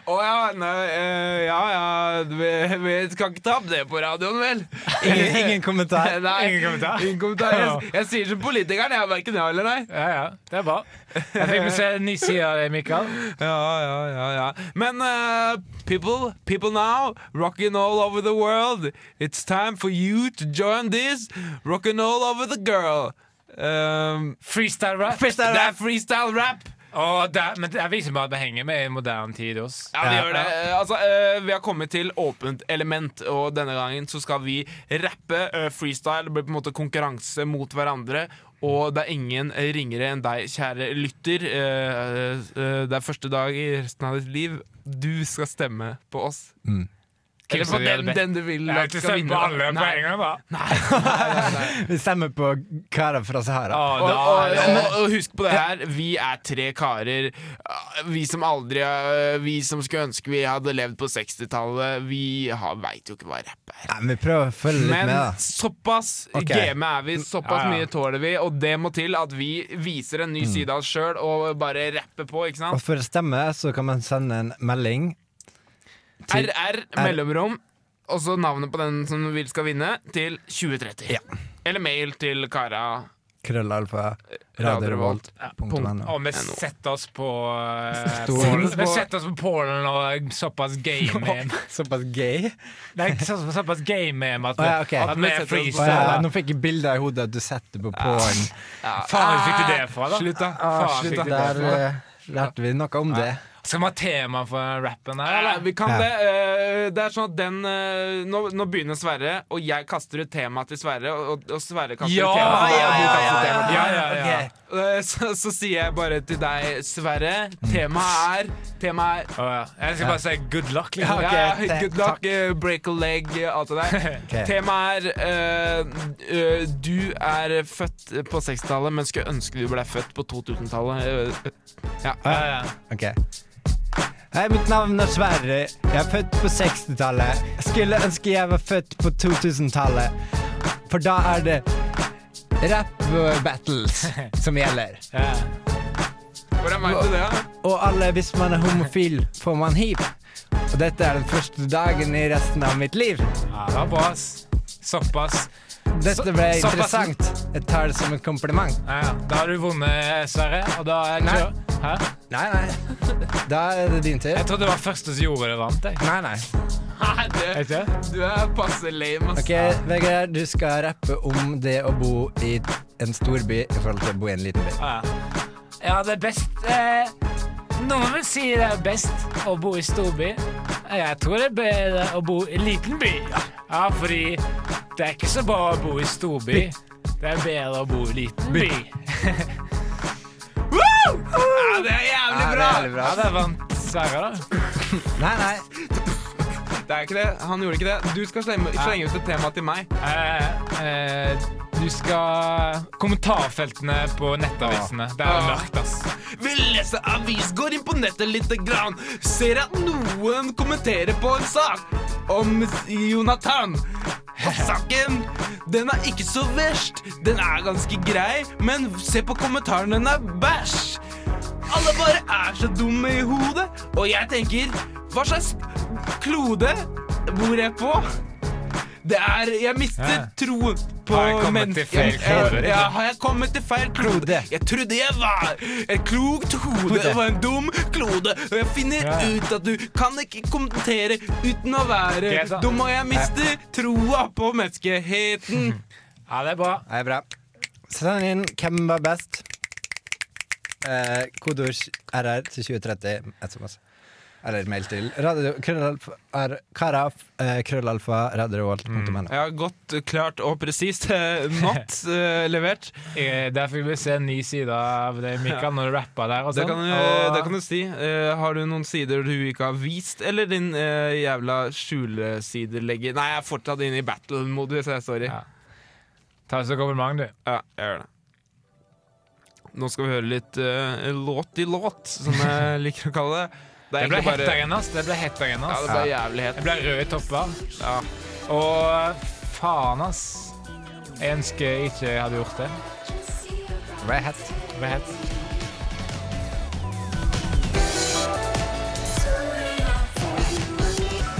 A: Å ja. Nei, eh, ja, ja. Vi, vi skal ikke ta opp det på radioen, vel?
B: Ingen, ingen kommentar.
A: Nei.
C: Ingen kommentar.
A: Ingen kommentar. Jeg, jeg sier som politikeren, jeg. Verken ja eller nei.
C: Ja, ja, det er bra. Jeg fikk med se en ny side av deg, Mikael.
A: Ja, ja, ja, ja. Men eh, people, people now, rocking all over the world. It's time for you to join this rocking all over the girl. Um,
C: Freestyle rap.
A: det er freestyle rap.
C: Å, det, men det viser bare at vi henger med i moderne tid også.
A: Ja, vi gjør det. Eh, Altså, eh, vi har kommet til åpent element, og denne gangen så skal vi rappe eh, freestyle. Det blir på en måte konkurranse mot hverandre. Og det er ingen ringere enn deg, kjære lytter. Eh, eh, det er første dag i resten av ditt liv. Du skal stemme på oss. Eller på den, den du vil
C: Jeg har
A: at
C: ikke
A: skal
C: stemt
A: vinne.
C: på alle på
A: Nei.
C: en gang, da.
B: Vi stemmer på karer fra Sahara.
C: Å,
A: Og,
C: Ah, da
A: og,
C: er det-
A: og, og husk på det her, vi er tre karer. Ah, Vi som aldri eh, Vi som skulle ønske vi hadde levd på 60-tallet. Vi veit jo ikke hva rapp er.
B: Nei, vi prøver å følge litt
A: Men
B: med, da.
A: såpass
B: Ok.
A: game er vi, såpass
C: Ja, ja.
A: mye tåler vi, og det må til at vi viser en ny
B: Mm.
A: side av oss sjøl og bare rapper på, ikke
B: Og
A: sant?
B: for å stemme, så kan man sende en melding. til-
A: RR mellomrom, og så navnet på den som vil skal vinne, til 2030.
B: Ja.
A: Eller mail til kara.
B: Krøllalfa.
A: radiorevolt.no.
B: Radiorevolt.no.
C: Og vi setter oss på eh,
B: Stol.
C: Polen- Vi setter oss på Polen og såpass game-meme.
B: Såpass gay.
C: Nei, ikke så- såpass game-meme at,
B: Å, ja, ok.
C: vi- at vi
B: Å,
C: er
B: ja,
C: freestyle.
B: sånn. nå fikk jeg bilder i hodet at du setter på porn.
C: Faen, hvor fikk du det fra, da?
A: Slutt, da.
B: Ah,
C: Faen,
B: shit,
C: fikk du det
B: der
C: fra?
B: eh, lærte vi noe om det.
C: Skal vi ha tema for den rappen her,
A: Ja,
C: eller?
A: vi kan
B: Ja.
A: det. eh, Det er sånn at den eh, Nå, nå begynner Sverre, og jeg kaster ut temaet til Sverre, og, og- og Sverre kaster
C: Ja,
A: ut temaet.
C: ja,
A: og du
C: ja,
A: kaster
C: ja,
A: temaet.
C: ja, ja, ja.
B: Ok.
A: Eh, Så, så sier jeg bare til deg, Sverre,
B: Mm.
A: temaet er Temaet er
C: Å, ja. Jeg skal bare si good luck, liksom.
B: Ja, ok,
A: ja,
B: te-
A: good luck, eh, break a leg, eh, alt det der.
B: Ok.
A: Temaet er eh, eh, Du er født på 60-tallet, men skulle ønske du ble født på 2000-tallet. Eh,
C: Ja, ja.
B: Ok. Hei, mitt navn er Sverre. Jeg er født på 60-tallet. Jeg Skulle ønske jeg var født på 2000-tallet. For da er det rap-battles som gjelder.
C: Ja.
A: Hvordan vet du det? da?
B: Og alle, hvis man er homofil, får man hiv. Og dette er den første dagen i resten av mitt liv.
C: Ja, det var bra, ass. Såpass.
B: Dette ble
C: Så- såpass-
B: interessant. Jeg tar det som en kompliment.
C: Ja, ja. Da har du vunnet, Sverre. Og da er
B: Nei.
C: kjør. Hæ?
B: Nei, nei. Da er det din tur.
C: Jeg trodde det var første som gjorde det vant, jeg.
B: Nei, nei.
A: Nei,
C: Er
A: du,
C: det ikke?
A: du er passe lame, ass.
B: Ok, Vegard, du skal rappe om det å bo i en storby i forhold til å bo i en liten by.
C: Ja, ja det er best eh, Noen vil si det er best å bo i storby. Jeg tror det er bedre å bo i liten by. Ja, fordi det er ikke så bra å bo i storby. Det er bedre å bo i liten by.
A: Ja, det er jævlig
B: Ja, det er
A: bra!
B: jævlig
C: Ja, det vant Sverre, da.
B: Nei, nei.
A: Det er ikke det. Han gjorde ikke det. Du skal slenge, slenge ut et tema til meg.
C: Eh, eh, du skal Kommentarfeltene på nettavisene. Det er mørkt, ass.
A: Vil lese avis, går inn på nettet lite grann. Ser at noen kommenterer på en sak om Jonathan. Saken, den er ikke så verst. Den er ganske grei, men se på kommentaren, den er bæsj. Alle bare er så dumme i hodet, og jeg tenker, hva slags klode bor jeg på? Det er Jeg mister
C: Ja.
A: troen på
C: Har jeg kommet til feil
A: Jeg- jeg-
C: klode? liksom?
A: Ja, har jeg kommet til feil klode? Jeg trodde jeg var et klokt hode. Det var en dum klode. Og jeg finner
C: Ja.
A: ut at du kan ikke kommentere uten å være
C: Greit, da.
A: dum, og jeg mister troa på menneskeheten.
C: Ja, det er bra.
B: Det er bra. Send inn hvem var best. Eh, Kodeord RR til 2030 SMS. Eller mail til radio, krøllalfa, r, karaf, eh, krøllalfa, radiovolt.no.
A: Ja, godt, klart og presist. eh, Not levert.
C: Eh, Der fikk vi se en ny side av det Mikael når du rappa der. Og
A: Det
C: sånn.
A: kan,
C: og,
A: det kan du si. Eh, har du noen sider du ikke har vist, eller din eh, jævla skjulesidelegger Nei, jeg er fortsatt inne i battle-modus, jeg. Sorry.
C: Ja. Ta oss et kompliment, du.
A: Ja, jeg gjør det. Nå skal vi høre litt eh, låt i låt, som jeg liker å kalle det. Det
C: Det
A: er
C: ble
A: egentlig
C: hett
A: bare
C: der inne, ass. Det ble hett der inne,
A: Ja,
C: ass.
A: det ble jævlig hett.
C: Jeg ble rød i topper.
A: Ja.
C: Og faen, ass. Jeg ønsker ikke jeg hadde gjort det.
B: Red hat.
C: Det ble hett.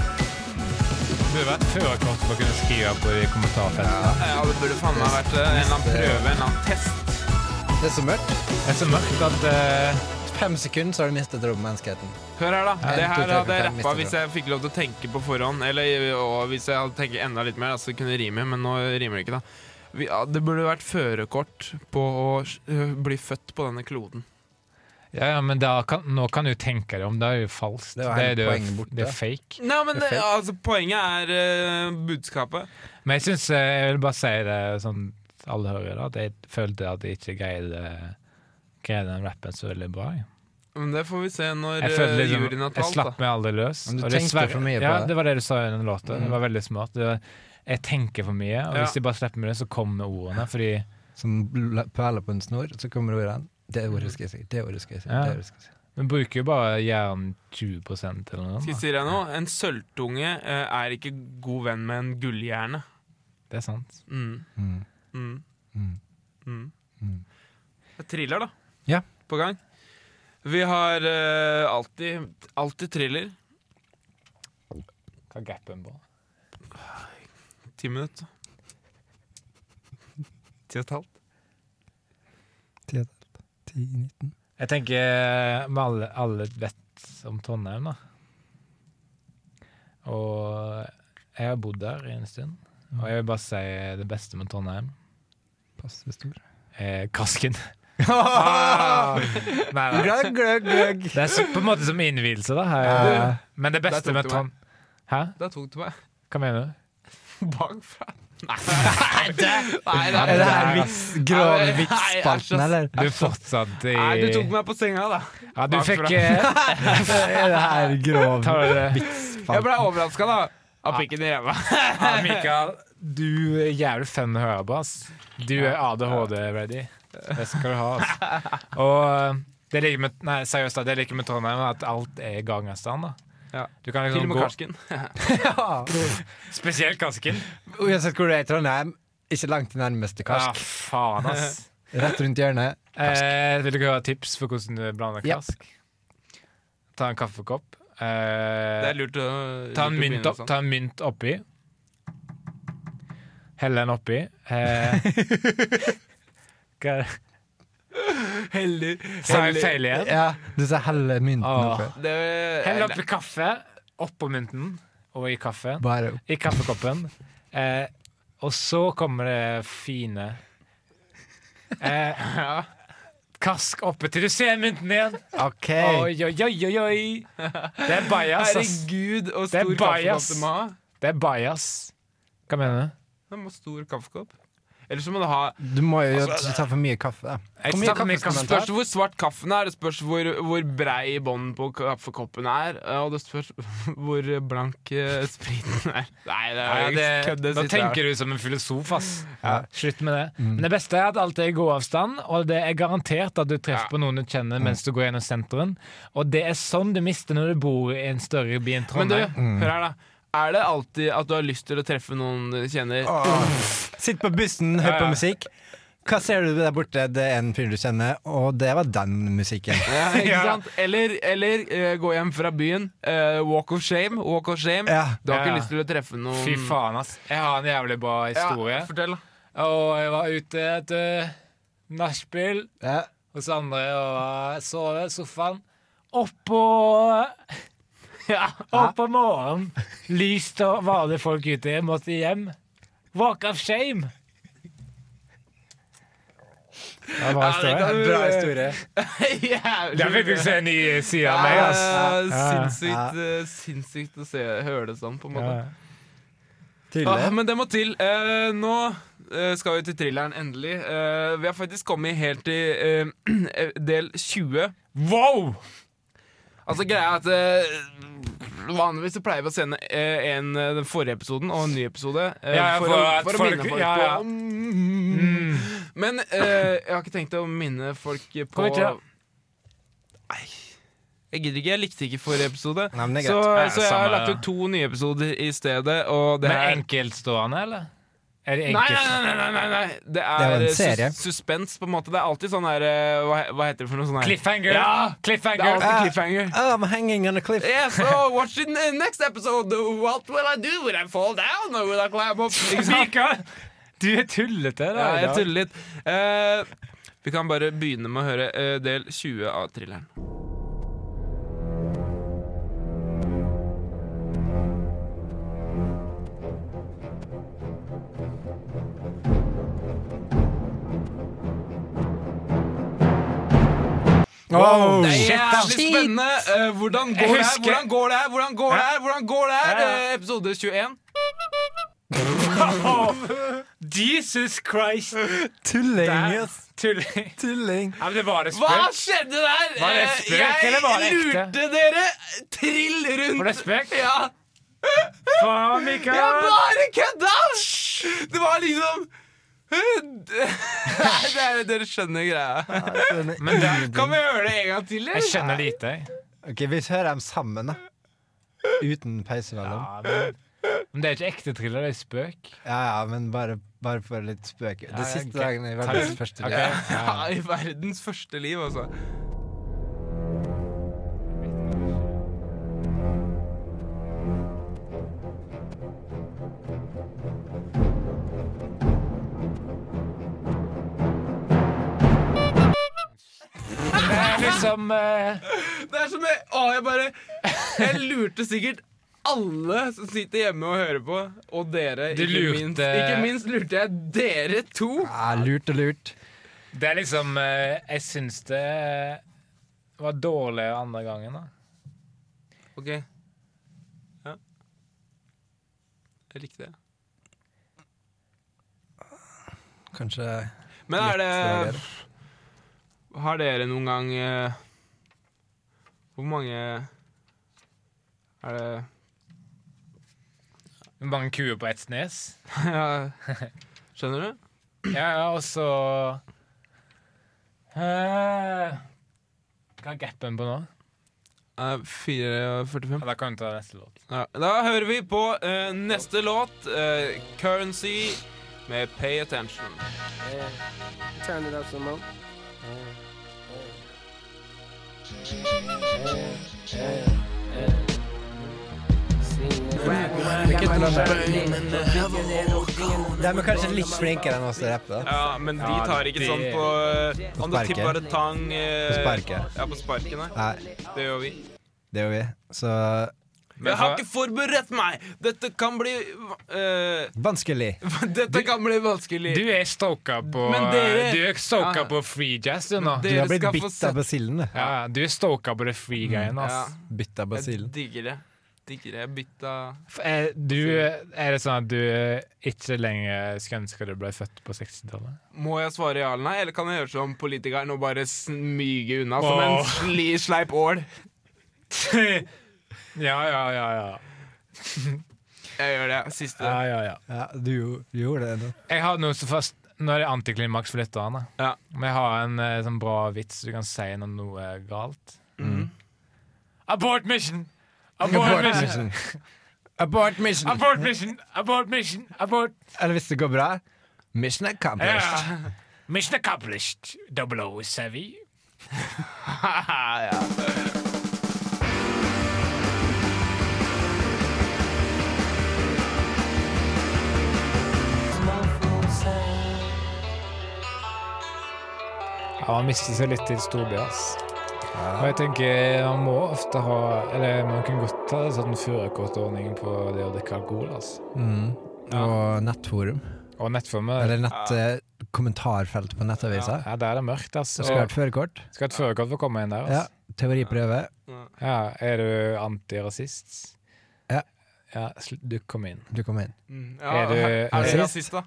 C: Du burde vært førerkort for å kunne skrive på de kommentarfeltene.
A: Ja, det burde faen meg vært eh, en eller annen prøve, en eller annen test. Mm.
B: Det er så mørkt.
C: Det er så mørkt at eh,
B: Fem sekunder, så har du mistet rom med menneskeheten.
A: Hør her, da. Det
B: En, to,
A: her
B: tre,
A: hadde jeg rappa
B: fem, mister
A: hvis jeg fikk lov til å tenke på forhånd. Eller og hvis jeg hadde tenkt enda litt mer, da, så kunne det rime, men nå rimer det ikke, da. Vi, ja, det burde vært førerkort på å eh, bli født på denne kloden.
C: Ja, ja, men da kan, nå kan du tenke deg om. Det er jo falskt.
B: Det var
C: er,
B: hele
C: jo-
B: poenget borte.
C: det er fake.
A: Nei, men
B: Det er
A: eh,
B: fett.
A: altså, poenget er eh, budskapet.
C: Men jeg syns Jeg vil bare si det sånn at alle hører det, at jeg følte at jeg ikke greide, greide den rappen så veldig bra. Jeg,
A: Men det får vi se når
C: jeg
A: eh,
C: følte
A: juryen
C: liksom
A: har
C: Jeg
A: talt, da.
C: slapp meg aldri løs.
B: Men du
C: og det
B: tenkte
C: sverre-
B: for mye på
C: ja,
B: det. Mm.
C: det var det du sa i den låta. Det var veldig smart. Det var, jeg tenker for mye, og
A: Ja.
C: hvis jeg bare slipper meg det, så kommer ordene. Fordi
B: Som la- perler på en snor, så kommer ordene. Det ordet skal jeg si. Det ordet skal jeg si.
C: Ja.
B: Det ordet skal jeg si.
C: vi bruker jo bare hjernen 20 eller noe.
A: Skal jeg
C: sånt, da.
A: si deg noe? En sølvtunge eh, er ikke god venn med en gullhjerne.
C: Det er sant.
A: Mm.
B: Mm.
A: Mm.
B: Mm.
A: Mm.
B: Mm.
A: Det er thriller, da.
B: Ja.
A: På gang. Vi har eh, alltid, alltid thriller.
C: Hva er gapen på?
A: Ti minutter. Ti og et halvt.
B: 10, 19.
C: Jeg tenker eh, med alle, alle vet om Trondheim, da. Og jeg har bodd der i en stund. Og jeg vil bare si det beste med Trondheim
B: Passe stor.
C: er kasken.
B: Ah!
C: Ah! Nei, nei.
B: Gløgg, gløgg, gløgg.
C: Det er så, på en måte som innvielse, da.
B: Ja.
C: Men det
A: Der
C: beste
A: tok
C: med
A: du meg.
C: Trondheim Hæ?
A: Der tok du meg
C: Hva mener du?
A: bakfra. Nei, det Nei, det
B: Er det her
A: Nei,
B: vits, grov
A: Nei, jeg er så-
B: vits-spalten, eller?
C: Du er fortsatt i
A: Nei, du tok meg på senga, da.
C: Ja, du fikk
A: bakfra.
C: eh,
B: Er det her grov
C: Tar du det?
A: Jeg
B: vits-spalten?
A: ble overraska, da. Av pikken i ræva.
C: Ja, Mikael, du er jævlig fun å høre på, ass. Du er ADHD-ready. Det skal du ha, ass. Og eh, det ligger med, nei, seriøst, da, det liker med Trondheim at alt er gangavstand, da.
A: Ja.
C: Du kan
A: Til og
C: liksom
A: med
C: gå
A: karsken.
C: Spesielt Karsken.
B: Uansett hvor du er i Trondheim, ikke langt til nærmeste
C: Ja,
B: karsk.
C: faen, ass.
B: Rett rundt hjørnet.
C: Eh, vil dere ha tips for hvordan du blander
B: Ja.
C: karsk? Ta en kaffekopp.
A: Det
C: Eh,
A: er lurt å
C: ta,
A: lurt
C: en
A: å sånn.
C: mynt
A: begynne
C: opp, ta en mynt oppi. Heller den oppi. Eh, hva er det?
A: Heller
C: Sa jeg feil igjen?
E: Ja, du sa helle mynten
C: Åh.
E: oppi.
A: Det,
C: Heller oppi kaffe. Oppå mynten og i kaffe.
E: Bare opp.
C: I kaffekoppen. Eh, og så kommer det fine eh, Kask oppe til du ser mynten igjen!
E: OK.
C: Oi, oi, oi, oi, oi! Det er bajas, ass.
A: Herregud, og
C: Det er
A: stor
C: bias.
A: kaffekopp du må ha.
C: Det er bajas. Hva mener du?
A: Du må ha stor kaffekopp. Eller så må du ha
E: Du må jo ikke ta for mye kaffe.
C: Altså, Jeg
E: Hvor mye
C: tar for mye
E: kaffe skal man
A: Spørs hvor svart kaffen er, det spørs hvor, hvor brei bånd på kaffekoppen er, eh, og det spørs hvor blank eh, spriten er. Nei, det er
C: Ja,
A: jo kødd,
C: det,
A: det
C: nå
A: siste her.
C: tenker du som en filosof, ass. Slutt med det. Men det beste er at alt er i god avstand, og det er garantert at du treffer
A: Ja.
C: på noen du kjenner mens du går gjennom sentrum. Og det er sånn du mister når du bor i en større by
A: Men
C: enn
A: du,
C: Trondheim.
A: hør her, da. Er det alltid at du har lyst til å treffe noen du kjenner?
E: Sitt på bussen, hør
C: Ja,
E: på
C: ja.
E: musikk. Hva ser du der borte? Det er en fyr du kjenner, og det var den musikken.
A: Ja, ikke
C: Ja.
A: sant? Eller, eller eh, gå hjem fra byen. eh, walk of shame. Walk of shame.
E: Ja.
A: Du har
C: Ja.
A: ikke lyst til å treffe noen
C: Fy faen, ass. Jeg har en jævlig bra historie.
A: Ja, fortell, da.
C: Og jeg var ute et uh, nachspiel hos andre og uh, sove i sofaen. Oppå ja, Oppå morgenen. Lyst og vanlige folk ute. Jeg måtte hjem. Walk of shame. Det er bra
A: det kan-
E: Bra historie.
A: Jævlig
C: Der fikk du se en ny side av
A: bra.
C: meg, altså.
A: Ja,
C: ass.
A: Sinnssykt, eh, sinnssykt å se, høre det sånn, på en måte.
E: Tydelig.
A: Ah, men det må til. Eh, nå eh, skal vi til thrilleren, endelig. Eh, vi har faktisk kommet helt til eh, del 20.
C: Wow!
A: Altså greia er at eh, Vanligvis så pleier vi å sende eh, en, eh, den forrige episoden og en ny episode. eh,
C: Ja, ja,
A: for,
C: for
A: å,
C: at
A: for å
C: folk-
A: minne folk
C: ja, ja.
A: på Mm. Men eh, jeg har ikke tenkt å minne folk på
C: Kom hit, ja.
A: Nei, Jeg gidder ikke. Jeg likte ikke forrige episode.
E: Nei, men det er
A: så,
E: greit.
C: Ja,
A: så jeg har
C: samme-
A: lagt ut to nye episoder i stedet, og det
C: Men
A: er
C: enkeltstående, eller? Er det
A: Nei,
C: enkelt?
A: nei, nei, nei, nei, nei. Det er,
E: jo en
A: eh, sus-
E: serie.
A: suspens, på en måte. Det er alltid sånn her eh, Hva, he- hva heter det for noe sånn her?
C: Cliffhanger!
A: Ja! Det er
C: Cliffhanger!
A: alltid cliffhanger.
E: I'm hanging on a cliff.
A: Yes, oh, watch the n- next episode. What will I do? Will I fall down? Or will I climb up? Ikke sant?
C: Mikael, du er tullete.
A: Ja,
C: da, i
A: jeg
C: dag.
A: tuller litt. Eh, vi kan bare begynne med å høre eh, del 20 av thrilleren.
E: Wow.
A: Det er
C: Shit, ass.
A: jævlig spennende. Eh, hvordan, går det
C: Jeg
A: her?
C: husker-
A: hvordan går det her? Hvordan går det her? Hvordan går det her?
C: Ja, ja.
A: Eh, episode 21.
C: Jesus Christ!
E: Tulling,
C: Der.
E: ass.
C: Tulling.
E: Tulling.
C: Ja, men det var det
A: Hva
C: spøk.
A: skjedde der?
C: Var det
A: Eh,
C: spøk,
A: jeg
C: eller var det ekte?
A: lurte dere trill rundt.
C: Var det spøk?
A: Ja.
C: Faen,
A: Jeg
C: Mikael!
A: bare kødda! Det var liksom Nei, det er, dere skjønner greia.
E: Men
A: Kan vi høre det en gang til? eller?
C: Jeg skjønner lite. jeg.
E: Ok, vi hører dem sammen, da. Uten pause mellom.
C: Ja, men, men det er ikke ekte thriller, det er spøk.
E: Ja, ja, men bare, bare for litt spøk. Det siste
C: ok.
E: dagen i verdens første
C: Ok.
E: liv.
A: Ja, I verdens første liv, altså.
C: Det er liksom eh,
A: Det er som jeg, å, jeg bare Jeg lurte sikkert alle som sitter hjemme og hører på, og dere.
C: Du
A: ikke,
C: lurte-
A: minst, ikke minst lurte jeg dere to.
E: Ja, lurt og lurt.
C: Det er liksom eh, Jeg syns det eh, var dårlig andre gangen, da.
A: Ok. Ja. Jeg likte det.
E: Kanskje
A: Men er
E: litt
A: det Har dere noen gang eh, Hvor mange Er det
C: Mange kuer på ett snes.
A: ja. Skjønner du?
C: Ja, ja, og så eh, Hva er gapen på nå?
A: Eh, 4.45.
C: Ja, da kan vi ta neste låt.
A: Ja. Da hører vi på eh, neste låt, eh, 'Currency', med 'Pay Attention'.
F: Eh, Turn it up some more.
B: De er kanskje litt flinkere enn oss til å rappe. da.
A: Ja, men de
C: Ja,
A: tar ikke
C: det-
A: sånn på eh, Om det
B: sparket.
A: tipper et tang eh,
B: På sparket.
A: Ja, på sparket, nei.
B: Nei,
A: Det gjør vi.
B: det gjør vi. Så
A: Jeg har ikke forberedt meg! Dette kan bli eh,
B: vanskelig.
A: Dette kan bli vanskelig.
C: Du er stoka på
A: Men dere-
C: Du er stoka
A: Ja.
C: på free jazz, du nå.
B: Du
A: Dere
B: har blitt
A: skal få
B: bitt av basillen, du.
C: Ja, du er stoka på det free-greiene,
A: ja,
C: ass.
B: Bitt
A: jeg
B: av basillen.
A: digger det. Digger det. Jeg bytta
C: F- Er, du, er det sånn at du ikke lenger skulle ønske du ble født på 60-tallet?
A: Må jeg svare ja eller nei, eller kan jeg gjøre som politikeren og bare smyge unna som en
C: Åh.
A: sli, sleip ål?
C: ja, ja, ja, ja.
A: Jeg gjør det. Siste.
C: ja, ja, ja.
B: Ja, du, jo- du gjorde det nå.
C: Jeg har noe så fast Nå er det antiklimaks for lytterne.
A: Ja.
C: Men jeg har en eh, sånn bra vits du kan si når noe er galt. Abort mission! Mm. Abort mission!
B: Abort mission.
C: Abort mission! Abort mission! Abort!
B: Eller hvis det går bra Mission accomplished.
C: Ja. Mission accomplished. Double O, savvy.
A: ja.
C: Ja, man mister seg litt i storby, ass. Og jeg tenker man må ofte ha Eller man kan godt ha en sånn førerkortordning på det å drikke alkohol, ass.
B: Mm. Og nettforum.
C: Og nettformer.
B: Eller nett, eh, kommentarfelt på nettavisa.
C: Ja, der er det mørkt, ass.
B: Du
C: Og
B: skal ha et førerkort.
C: skal ha et førerkort for å komme inn der,
B: Ja.
C: ass.
B: Teoriprøve.
C: Ja, er du antirasist?
B: Ja.
C: Ja, sl- du kom inn.
B: Du kommer inn.
A: Mm,
C: Er du-
A: ja. Er
B: er du-
A: du rasist, da?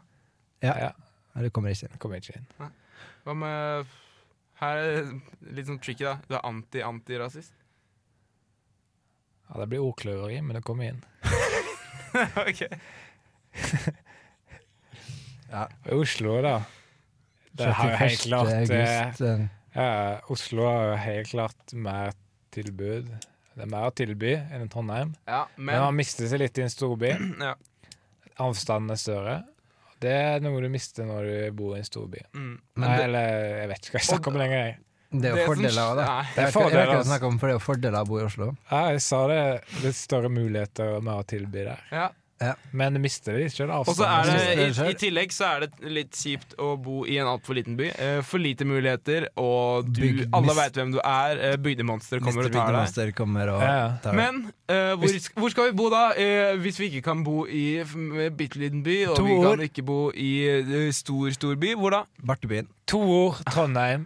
B: Nei, du kommer ikke inn.
C: Kom ikke inn.
A: Hva med Her er det litt sånn tricky, da. Du er anti-antirasist.
C: Ja, det blir ordkløveri, men du kommer inn.
A: ok.
C: Og Oslo, da. Det har jo helt
B: 31.
C: klart eh,
B: august. eh,
C: Ja, Oslo har jo helt klart mer tilbud. Det er mer å tilby enn i Trondheim.
A: Ja,
C: Men,
A: men
C: man mister seg litt i en storby.
A: Ja.
C: Avstanden er større. Det er noe du mister når du bor i en storby.
A: mm,
C: Nei, eller jeg vet ikke hva jeg snakker om lenger. jeg.
B: Det er jo
A: som-
B: fordeler av det.
A: Nei.
C: Det
B: Jeg vet ikke- jeg
C: er
B: vet
C: fordeler.
B: ikke hva du
C: ass.
B: snakker om, for det er jo fordeler av å bo i Oslo.
C: Ja, jeg sa det. Det er større muligheter og mer å tilby der.
A: Ja.
C: Men du mister det ikke.
A: Og så er
C: Avstanden.
A: det, i, i tillegg så er det litt kjipt å bo i en altfor liten by. Eh, for lite muligheter, og du,
B: Bygd-
A: alle
B: mis-
A: veit hvem du er. Eh, bygdemonster kommer
B: Mr.
A: og tar deg.
B: Bygdemonster kommer og
C: Ja, ja.
B: tar deg.
A: Men eh, hvor, sk- hvor skal vi bo da, eh, hvis vi ikke kan bo i en bitte liten by? Og
B: To
A: vi
B: år.
A: kan ikke bo i eh, stor, stor by. Hvor da?
B: Bartebyen.
C: To ord Trondheim.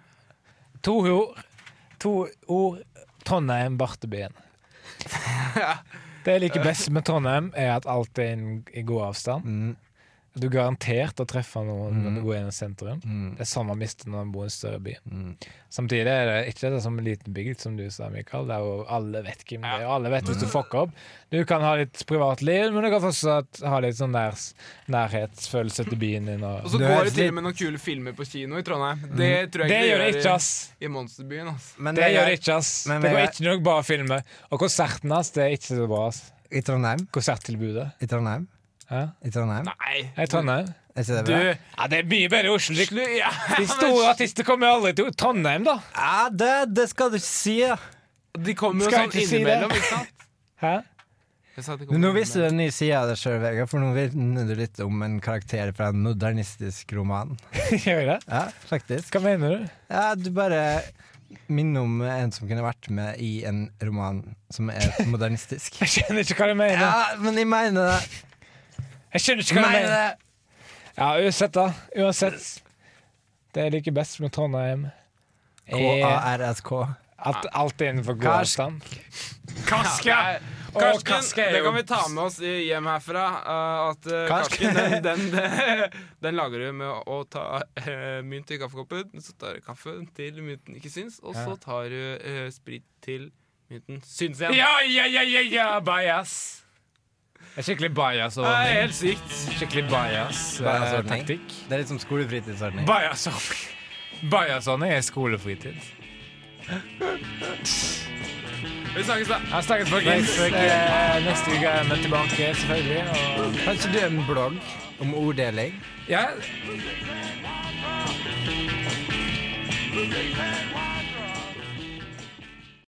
C: To ord, to ord Trondheim, Bartebyen. Det jeg liker best med Trondheim, er at alt er inn, i god avstand.
B: Mm.
C: Du er garantert å treffe noen når du går gjennom sentrum.
B: mm,
C: Det er sånn man mister når man bor i en større by. Samtidig er det ikke det som en liten bygd, som du sa, Mikael. Det er jo alle vet hvem det er, og alle vet hvis du fucker opp. Du kan ha litt privatliv, men du kan fortsatt ha litt sånn nær, nærhetsfølelse til byen din.
A: Og
C: Og
A: så
B: Du
A: går
B: er
A: det til
B: litt-
A: og med noen kule filmer på kino i Trondheim. Det tror Altså, jeg
C: Mm. det gjør det
A: i-
C: ikke, ass!
A: i Monsterbyen. Altså.
B: Men
C: Det gjør det ikke, ass.
B: Men
C: det går
B: Vegard-
C: ikke noe bra filmer. Og konserten hans det er ikke så bra. ass.
B: I Trondheim.
C: Konserttilbudet.
B: I Trondheim.
C: Ja.
B: I Trondheim.
A: Nei!
C: Er Trondheim?
B: Er ikke det
C: Du,
B: bra?
C: ja, det er mye bedre i Oslo. De,
A: Slu- ja,
C: de store artistene kommer aldri til Trondheim, da.
B: Ja, det, det skal du ikke si! da.
A: De kommer jo
C: Skal
A: sånn
C: ikke si det.
A: innimellom, ikke sant?
C: Hæ?
A: Jeg sa at de
B: Men
A: kommer
B: nå visste du
A: innimellom.
B: en ny side av deg sjøl, Vegard, for nå vinner du litt om en karakter fra en modernistisk roman.
C: Gjør jeg det?
B: Ja, faktisk.
C: Hva mener du?
B: Ja, du bare minner om en som kunne vært med i en roman som er modernistisk.
C: Jeg skjønner ikke hva du mener.
B: Ja, men jeg mener det.
C: Jeg skjønner ikke
B: Jeg
C: hva du
B: mener
C: mener.
B: det.
C: Ja, uansett, da. Uansett. Det jeg liker best med Trondheim, er
B: K-a-r-s-k.
C: at alt er innenfor god
B: Karsk.
C: avstand. eh, Karske! Og Karske
A: Karsken,
C: er
A: det kan
C: jo
A: vi ta med oss i- hjem herfra. eh, At eh,
B: Karsk.
A: karsken, den, den, den, lager du med å ta eh, mynt i kaffekoppen. Så tar du kaffe til mynten ikke syns, og så tar du eh, sprit til mynten syns igjen.
C: Ja, ja, ja, ja, ja, bias. Det er skikkelig bias.
A: Det
C: over meg.
A: er helt sykt.
C: Skikkelig eh,
B: Bias-ordning.
C: bias-taktikk.
B: Det er litt som skolefritidsordning.
C: Bias-ordning bias er skolefritid.
A: Vi snakkes da.
C: Jeg snakkes, folkens. Eh, Neste uke er vi tilbake, selvfølgelig.
B: Kanskje du er en blogg om orddeling?
C: Og ja,